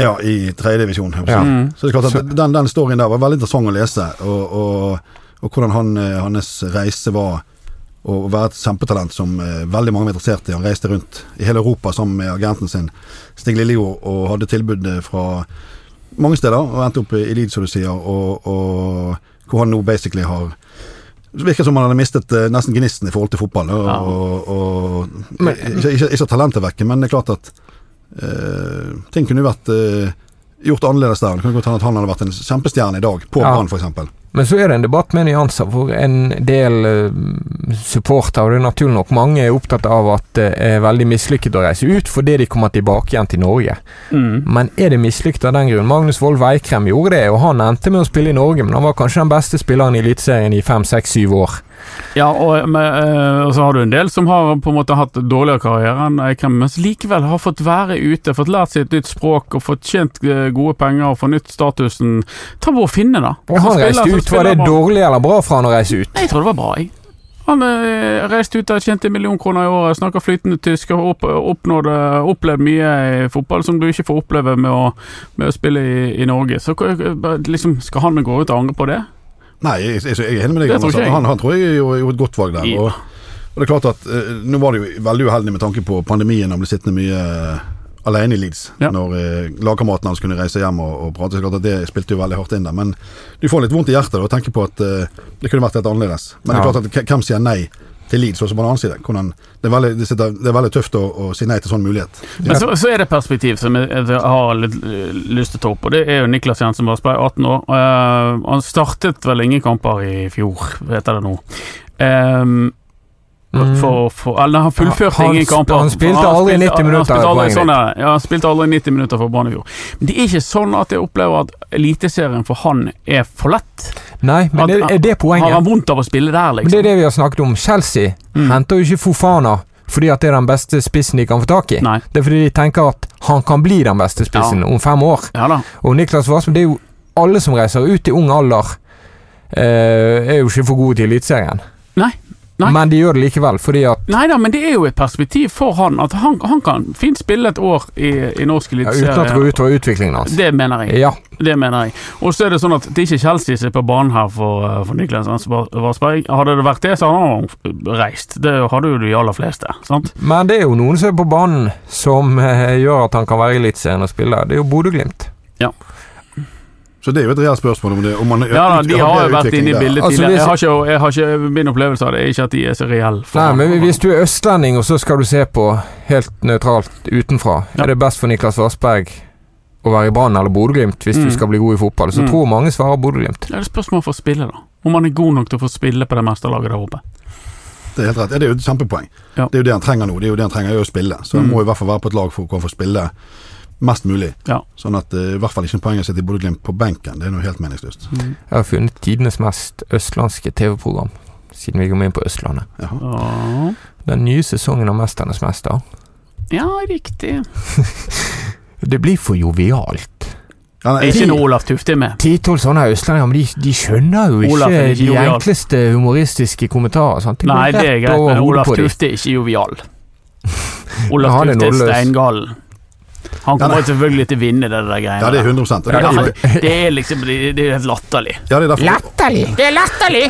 Speaker 4: Ja, i tredje divisjon. jeg må si.
Speaker 2: Ja.
Speaker 3: Mm.
Speaker 4: Så det er klart at den, den storyen der var veldig interessant å lese, og, og, og hvordan han, eh, hans reise var å være et kjempetalent som eh, veldig mange var interessert i. Han reiste rundt i hele Europa sammen med agenten sin, Stig Lillejord, og hadde tilbud eh, fra mange steder, og endte opp i i Leeds, som du sier, og, og hvor han nå basically har det virker som han hadde mistet eh, nesten gnisten i forhold til fotball. Og,
Speaker 3: Ja.
Speaker 4: og, og,
Speaker 2: Men-
Speaker 4: ikke, ikke, ikke talentet vekke, men det er klart at eh, ting kunne jo vært eh, gjort annerledes der. Det kunne godt hende at han hadde vært en kjempestjerne i dag, på
Speaker 2: Ja.
Speaker 4: Brann for f.eks.
Speaker 2: Men så er det en debatt med nyanser, hvor en del eh, supportere, og det er naturlig nok mange, er opptatt av at det er veldig mislykket å reise ut fordi de kommer tilbake igjen til Norge.
Speaker 3: Mm.
Speaker 2: Men er det mislykket av den grunn? Magnus Wold Weikrem gjorde det, og han endte med å spille i Norge, men han var kanskje den beste spilleren i Eliteserien i fem, seks, syv år.
Speaker 3: Ja, og, men, eh, og så har du en del som har på en måte hatt dårligere karriere enn Eikrem, men som likevel har fått være ute, fått lært seg et nytt språk og fått tjent eh, gode penger og fornytt statusen. Ta hvor Finne, da.
Speaker 2: Og
Speaker 3: Som
Speaker 2: han
Speaker 3: spiller-
Speaker 2: reiste
Speaker 3: som
Speaker 2: ut. Var
Speaker 3: spiller
Speaker 2: det
Speaker 3: bra.
Speaker 2: dårlig eller bra for han å reise ut?
Speaker 3: Nei, Jeg tror det var bra, jeg. Han eh, reiste ut der, tjente en million kroner i året, snakker flytende tysk og opp, oppnådde, opplevde mye i fotball som du ikke får oppleve med å, med å spille i, i Norge. Så k- k- liksom, skal han gå ut og angre på det?
Speaker 4: Nei, jeg, jeg, jeg er enig med deg.
Speaker 3: Det tror
Speaker 4: Anders.
Speaker 3: ikke jeg.
Speaker 4: Han, han tror jeg gjorde gjorde et godt valg der.
Speaker 3: Ja.
Speaker 4: Og, og det er klart at eh, Nå var det jo veldig uheldig med tanke på pandemien. Han ble sittende mye eh, alene i Leeds
Speaker 3: Ja.
Speaker 4: når eh, lagkameratene hans kunne reise hjem og, og prate. Så klart at Det spilte jo veldig hardt inn der. Men du får litt vondt i hjertet da, å tenke på at eh, det kunne vært helt annerledes. Men det
Speaker 2: Ja.
Speaker 4: er klart at k- hvem sier nei? Til Leeds, også på den annen side. Hvordan, det, er veldig, det, sitter, det er veldig tøft å, å si nei til sånn mulighet.
Speaker 3: Men så, så er det et perspektiv som jeg, jeg har litt eh, lyst til å ta opp, og det er jo Niklas Jensen Vassberg, 18 år. Eh, han startet vel ingen kamper i fjor, heter det nå. Eh, for, for, eller han fullførte
Speaker 2: Mm. Han-
Speaker 3: ingen kamper.
Speaker 2: han spilte aldri 90 minutter,
Speaker 3: Han spilte aldri,
Speaker 2: poenget
Speaker 3: sånn, ja, han spilte aldri 90 minutter for Brann i fjor. Men det er ikke sånn at jeg opplever at Eliteserien for han er for lett.
Speaker 2: Nei, men
Speaker 3: At-
Speaker 2: det, er det poenget?
Speaker 3: Har han vondt av å spille
Speaker 2: Men
Speaker 3: der,
Speaker 2: det
Speaker 3: liksom?
Speaker 2: er det vi har snakket om. Chelsea
Speaker 3: Mm.
Speaker 2: henter jo ikke Fofana fordi at det er den beste spissen de kan få tak i.
Speaker 3: Nei.
Speaker 2: Det er fordi de tenker at han kan bli den beste spissen om fem år.
Speaker 3: Ja da.
Speaker 2: Og Niklas Vassmo, det er jo alle som reiser ut i ung alder, eh, er jo ikke for gode til Eliteserien.
Speaker 3: Nei. Nei.
Speaker 2: Men de gjør det likevel, fordi at
Speaker 3: Nei da, men det er jo et perspektiv for han. At han, han kan fint spille et år i, i norsk
Speaker 2: ja, Uten at det går
Speaker 3: eliteserie.
Speaker 2: utover utviklingen hans.
Speaker 3: Det mener jeg.
Speaker 2: Ja,
Speaker 3: Det mener jeg. Og så er det sånn at det er ikke Chelsea som er på banen her for, eh, for Niklas Vassberg. Hadde det vært det, så hadde han reist. Det hadde jo de aller fleste. sant?
Speaker 2: Men det er jo noen som er på banen som eh, gjør at han kan være i Eliteserien og spille. Det er jo Bodø-Glimt.
Speaker 4: Så det er jo et reelt spørsmål om det om man,
Speaker 3: Ja da, De har jo vært inne i bildet
Speaker 2: Altså,
Speaker 3: tidligere.
Speaker 2: hvis-
Speaker 3: Jeg har ikke, jeg har ikke, min opplevelse av det er ikke at de er så reelle. for
Speaker 2: Nei,
Speaker 3: han.
Speaker 2: men hvis du er østlending, og så skal du se på helt nøytralt utenfra,
Speaker 3: Ja.
Speaker 2: er det best for Niklas Vassberg å være i Brann eller Bodø-Glimt hvis
Speaker 3: Mm.
Speaker 2: du skal bli god i fotball? Så
Speaker 3: Mm.
Speaker 2: tror mange svarer Bodø-Glimt.
Speaker 3: Ja, Det er et spørsmål for å spille, da. Om han er god nok til å få spille på det mesterlaget der oppe.
Speaker 4: Det er helt rett. Ja, det er jo et kjempepoeng.
Speaker 3: Ja.
Speaker 4: Det er jo det han trenger nå. Det er jo det han trenger er å spille. Så han
Speaker 3: Mm.
Speaker 4: må i hvert fall være på et lag for å få spille mest mulig.
Speaker 3: Ja.
Speaker 4: Sånn at eh, i hvert fall ikke poenget å sitte i Bodø-Glimt på benken. Det er noe helt meningsløst.
Speaker 2: Jeg har funnet tidenes mest østlandske TV-program, siden vi kom inn på Østlandet.
Speaker 4: Jaha.
Speaker 3: Ja.
Speaker 2: Den nye sesongen av Mesternes mester.
Speaker 3: Ja, riktig.
Speaker 2: Det blir for jovialt.
Speaker 4: Ja,
Speaker 3: Det er ikke noe Olaf Tufte er med.
Speaker 2: Ti-tolv sånne østlendinger, men de, de skjønner jo ikke
Speaker 3: Olaf er ikke
Speaker 2: de
Speaker 3: jovial.
Speaker 2: enkleste humoristiske kommentarer. Sant? går
Speaker 3: Nei, det er
Speaker 2: rett
Speaker 3: greit,
Speaker 2: over
Speaker 3: men
Speaker 2: hodet
Speaker 3: Olaf
Speaker 2: på de. <laughs>
Speaker 3: Tufte er ikke <laughs> jovial.
Speaker 2: Ja,
Speaker 3: Olaf
Speaker 2: han er
Speaker 3: Tufte er
Speaker 2: nådeløs.
Speaker 3: steingallen. Han
Speaker 4: Ja,
Speaker 3: kommer
Speaker 4: nei.
Speaker 3: selvfølgelig til å vinne det der greiene.
Speaker 4: ja, det er 100 og det er,
Speaker 3: Ja,
Speaker 4: derfor-
Speaker 3: det er liksom Det det er helt latterlig.
Speaker 4: ja, det er derfor
Speaker 2: Latterlig!
Speaker 3: Det er latterlig!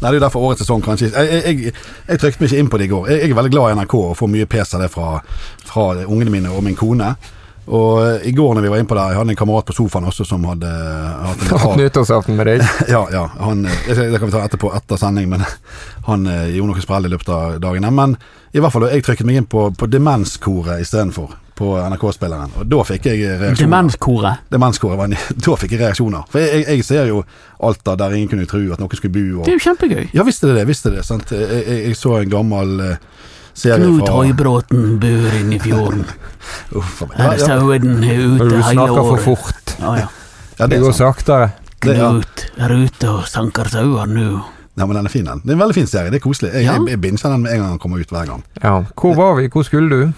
Speaker 4: Nei, det er derfor årets sesong kanskje Jeg, jeg, jeg, jeg trykte meg ikke inn på det i går. Jeg, jeg er veldig glad i NRK og får mye pes av det fra, fra ungene mine og min kone. Og eh, i går når vi var inne på det, jeg hadde en kamerat på sofaen også som hadde eh, hatt
Speaker 3: <laughs>
Speaker 4: en
Speaker 2: Hatt nyttårsaften med deg.
Speaker 4: Ja, ja. Han, eh, det skal- det kan vi ta etterpå, etter sending, men <laughs> han eh, gjorde noe sprell i løpet av dagene. Men i hvert fall, jeg trykket meg inn på, på Demenskoret istedenfor, på NRK-spilleren. Og da fikk jeg eh, reaksjoner.
Speaker 3: Demenskoret.
Speaker 4: Demenskoret, var en- <laughs> da fikk jeg reaksjoner. For jeg, jeg, jeg ser jo Alta der ingen kunne tro at noen skulle bo. Og,
Speaker 3: Det er jo kjempegøy.
Speaker 4: ja, visste det det, visste det. Sant? Jeg, jeg, jeg så en gammel eh, serie
Speaker 3: Knut
Speaker 4: fra
Speaker 3: Høybråten bor inne i fjorden.
Speaker 4: Uff, for meg.
Speaker 3: Her er
Speaker 4: ja, ja,
Speaker 3: sauen er
Speaker 2: Når
Speaker 3: ute
Speaker 2: du
Speaker 3: hele
Speaker 2: snakker for
Speaker 3: året.
Speaker 2: fort.
Speaker 3: Ja, ja.
Speaker 4: ja, det
Speaker 2: Det
Speaker 4: er
Speaker 2: går
Speaker 4: sant.
Speaker 2: saktere.
Speaker 4: <laughs> Det, ja.
Speaker 3: Knut er ute og sanker sauer nå.
Speaker 4: ja, men den er fin, den. Det er en veldig fin serie. Det er koselig. Jeg,
Speaker 3: Ja.
Speaker 4: jeg, jeg binger den med en gang den kommer ut, hver gang.
Speaker 2: Ja. Hvor var vi? Hvor skulle du?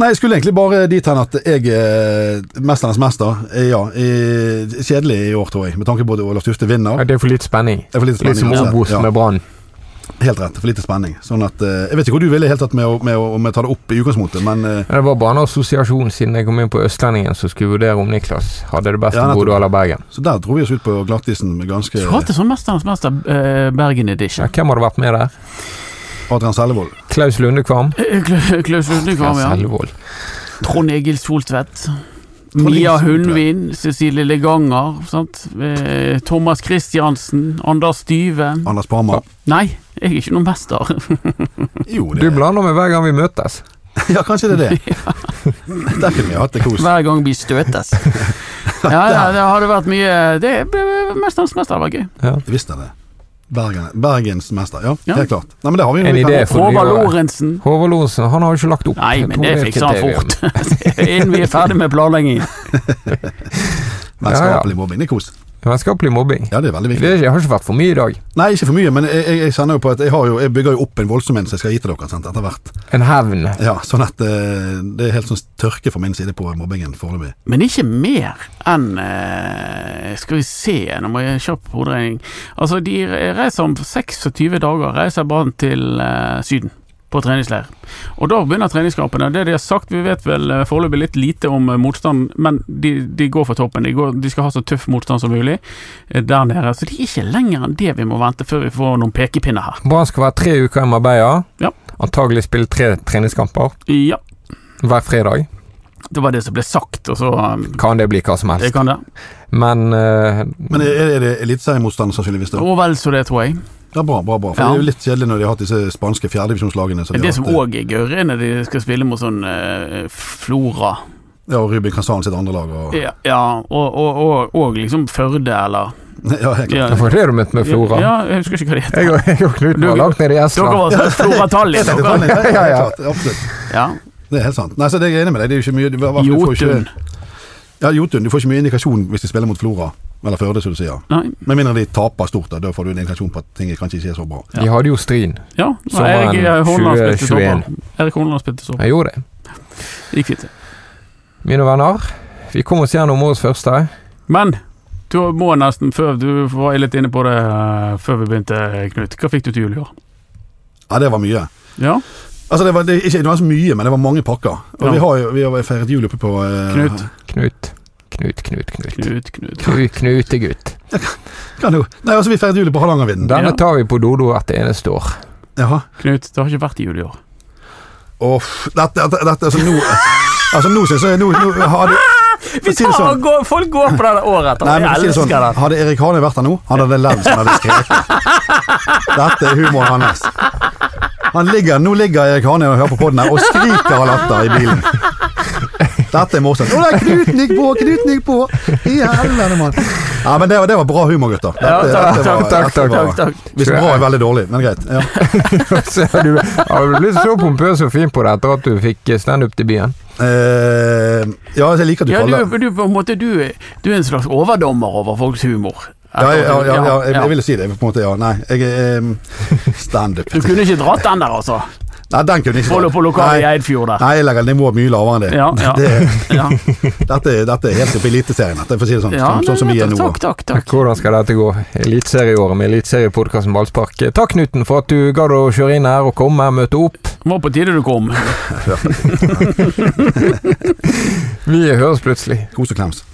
Speaker 4: Nei, jeg skulle egentlig bare dit hen at jeg er Mesternes mester. Eh, Ja, eh, kjedelig i år, tror jeg, med tanke på at Olaf Tufte
Speaker 2: Ja,
Speaker 4: vinner.
Speaker 2: det er for litt spenning.
Speaker 4: Det er for lite
Speaker 2: Litt som
Speaker 4: spenning. uansett.
Speaker 2: Obos med Brann.
Speaker 4: Ja, helt rett. For lite spenning. Sånn at eh, Jeg vet ikke hvor du ville helt tatt med å, med å med å ta det opp i utgangspunktet, men eh,
Speaker 2: Men Det var bare en assosiasjon siden jeg kom inn på Østlendingen som skulle vurdere om Niklas hadde det best i
Speaker 4: Ja, nettopp.
Speaker 2: Bodø eller Bergen.
Speaker 4: Så der dro vi oss ut på glattisen med ganske
Speaker 3: Du hørte sånn Mesternes mester eh, Bergen
Speaker 2: Ja,
Speaker 3: edition.
Speaker 2: hvem hadde vært med der?
Speaker 4: Adrian Sellevold.
Speaker 2: Klaus Lundekvam?
Speaker 3: Eh, Kla- Klaus Lundekvam, ja.
Speaker 2: Selvold.
Speaker 3: Trond Egil Soltvedt.
Speaker 4: Egil
Speaker 3: Mia
Speaker 4: Soltvedt.
Speaker 3: Hundvin, Cecilie Leganger, sant? Eh, Thomas Christiansen, Anders Dyve
Speaker 4: Anders Parma.
Speaker 3: Nei, jeg er ikke noen mester.
Speaker 4: Jo,
Speaker 2: Du blander meg hver gang vi møtes.
Speaker 4: <laughs> Ja, kanskje det
Speaker 2: <laughs>
Speaker 4: er det. Der kunne vi hatt det kos.
Speaker 3: Hver gang vi støtes. <laughs> Ja, ja, det hadde vært mye Det Mesternes mester var gøy.
Speaker 4: Visst er det. Bergen, Bergensmester, ja,
Speaker 3: Ja.
Speaker 4: helt klart. Nei, men det har vi jo
Speaker 2: En
Speaker 4: vi kan-
Speaker 2: idé for
Speaker 3: Håvard
Speaker 2: nyåret.
Speaker 3: Lorentzen.
Speaker 2: Håvard Lorentzen, han har jo ikke lagt opp.
Speaker 3: Nei,
Speaker 2: Jeg
Speaker 3: men
Speaker 2: tror
Speaker 3: det
Speaker 2: er et
Speaker 3: fikser han
Speaker 2: kriterium.
Speaker 3: fort. <laughs> Innen vi er ferdig med planleggingen.
Speaker 4: Vennskapelig mobbing, det er kos.
Speaker 2: <laughs> Vennskapelig mobbing.
Speaker 4: Ja, det er veldig
Speaker 2: Det
Speaker 4: viktig.
Speaker 2: er- det har ikke vært for mye i dag.
Speaker 4: Nei, ikke for mye, men jeg, jeg, jeg kjenner jo på at jeg, har jo, jeg bygger jo opp en voldsom en som jeg skal gi til dere sant, etter hvert.
Speaker 2: En hevn.
Speaker 4: Ja, sånn at eh, det er helt sånn tørke fra min side på mobbingen foreløpig.
Speaker 3: Men ikke mer enn eh, Skal vi se, nå må jeg kjapp hoderegning. Altså, de reiser om 26 dager reiser Brann til eh, Syden på treningsleir. Og da begynner treningskampene. Det de har sagt, vi vet vel eh, foreløpig litt lite om eh, motstand, men de, de går for toppen. De, går, de skal ha så tøff motstand som mulig eh, der nede. Så de er ikke lenger enn det vi må vente før vi får noen pekepinner her.
Speaker 2: Brann skal være tre uker i Marbella.
Speaker 3: Ja.
Speaker 2: Antagelig spille tre treningskamper
Speaker 3: Ja,
Speaker 2: hver fredag.
Speaker 3: det var det som ble sagt, og så eh,
Speaker 2: Kan det bli hva som
Speaker 3: Det
Speaker 2: helst.
Speaker 3: kan det.
Speaker 2: Men eh, <laughs>
Speaker 4: Men er, er det eliteseriemotstander sannsynligvis? da?
Speaker 3: Og vel så det, tror jeg.
Speaker 4: Ja, bra, bra, bra. For
Speaker 3: Ja.
Speaker 4: Det er jo litt kjedelig når de har hatt disse spanske fjerdedivisjonslagene. som de
Speaker 3: Men
Speaker 4: har
Speaker 3: det som
Speaker 4: hatt, eh,
Speaker 3: òg er gørr, er når de skal spille mot sånn eh, Flora.
Speaker 4: eh, Ja, og Ruben Kazan sitt andre lag og
Speaker 3: Ja, ja og, og, og, og liksom Førde, eller
Speaker 4: <laughs> Ja, helt klart.
Speaker 3: ja,
Speaker 2: for det er du møtt med Flora.
Speaker 3: Ja, jeg husker ikke hva det heter.
Speaker 2: Jeg og, jeg og Knut
Speaker 3: Du-
Speaker 2: var langt nede i
Speaker 3: Dere
Speaker 2: Estland.
Speaker 3: var sånn Flora Tallinn,
Speaker 4: Det
Speaker 3: <laughs>
Speaker 4: er
Speaker 3: dere.
Speaker 4: helt
Speaker 2: Ja, ja.
Speaker 4: klart, Absolutt.
Speaker 3: Ja.
Speaker 4: Det er helt sant. Nei, så det er jeg enig med deg. Det er jo ikke mye, du, du får ikke,
Speaker 3: Jotun.
Speaker 4: ja, Jotun. Du får ikke mye indikasjon hvis de spiller mot Flora. Eller Førde, som du sier.
Speaker 3: Nei,
Speaker 4: Med mindre de taper stort, da. Da får du en indikasjon på at ting kanskje ikke er så bra.
Speaker 3: Ja.
Speaker 2: De hadde jo Stryn.
Speaker 3: ja.
Speaker 2: Som
Speaker 3: Nei,
Speaker 2: var en
Speaker 3: Erik Horneland
Speaker 2: 20-21.
Speaker 3: spilte stopper. Erik Horneland spilte stopper.
Speaker 2: Jeg gjorde det.
Speaker 3: Gikk fint.
Speaker 2: Mine venner, vi kom oss gjennom årets første.
Speaker 3: Men du må nesten før Du var litt inne på det eh, før vi begynte, Knut. Hva fikk du til jul i år?
Speaker 4: Ja, det var mye.
Speaker 3: Ja,
Speaker 4: Altså, det var det, ikke det var så mye, men det var mange pakker. Og
Speaker 3: Ja.
Speaker 4: vi har jo vi har feiret jul oppe på eh,
Speaker 3: Knut.
Speaker 2: Knut. Knut, Knut, Knut.
Speaker 3: Knut, Knut.
Speaker 2: Knut, Knutegutt.
Speaker 4: Kan jo. Nei, altså, vi feiret jul på Hardangervidda.
Speaker 2: Denne
Speaker 3: Ja.
Speaker 2: tar vi på Dodo hvert eneste år.
Speaker 4: Jaha.
Speaker 3: Knut, det har ikke vært jul i år.
Speaker 4: Uff. Dette, dette, dette altså, nå Altså, nå syns jeg nå, nå har
Speaker 3: <laughs>
Speaker 4: det For å si det sånn.
Speaker 5: går, folk går på det året etter.
Speaker 4: Nei, men for å si det sånn, Hadde Erik Hane vært her nå, han hadde levd som han hadde skreket. Dette er humoren hans. Han ligger, nå ligger Erik Hane og hører på podden her og skriker av latter i bilen. Dette er morsomt. Å nei, knuten gikk på, knuten gikk på! I helvete, mann. Ja, men det var, det var bra humor, gutter. Dette,
Speaker 5: Ja, takk,
Speaker 4: dette
Speaker 2: takk,
Speaker 4: var-
Speaker 2: takk,
Speaker 4: dette var-
Speaker 5: Takk, takk.
Speaker 4: Hvis bra er veldig dårlig, men greit. Ja.
Speaker 2: Så <laughs> har du har du blitt så pompøs og fin på det etter at du fikk standup-debuten.
Speaker 4: Eh, ja, altså, jeg liker at du
Speaker 3: Ja,
Speaker 4: kaller
Speaker 3: du, du, på en måte, du, du er en slags overdommer over folks humor.
Speaker 4: ja, ja, ja, ja, jeg,
Speaker 3: Ja.
Speaker 4: jeg ville si det, på en måte. Ja. Nei, jeg eh, Standup.
Speaker 3: Du kunne ikke dratt den der, altså.
Speaker 4: Nei, den kunne jeg ikke
Speaker 3: Holder
Speaker 4: tatt.
Speaker 3: på lokalet i
Speaker 4: Nei.
Speaker 3: Eidfjord der.
Speaker 4: Nei, jeg legger nivået mye lavere enn det.
Speaker 3: Ja, ja. Ja,
Speaker 4: <laughs> det <laughs> dette, er- dette er helt oppe i Eliteserien, dette, for å si det sånn.
Speaker 3: ja
Speaker 4: sånn, sånn som
Speaker 3: nei,
Speaker 4: vi er nå.
Speaker 3: Takk, takk, takk.
Speaker 2: Hvordan skal dette gå? Eliteserieåret med Eliteseriepodkasten Ballspark. Takk, Knuten, for at du gadd å kjøre inn her og komme her, møte opp.
Speaker 3: Det var på tide du kom.
Speaker 2: Vi høres plutselig.
Speaker 4: Kos og klems.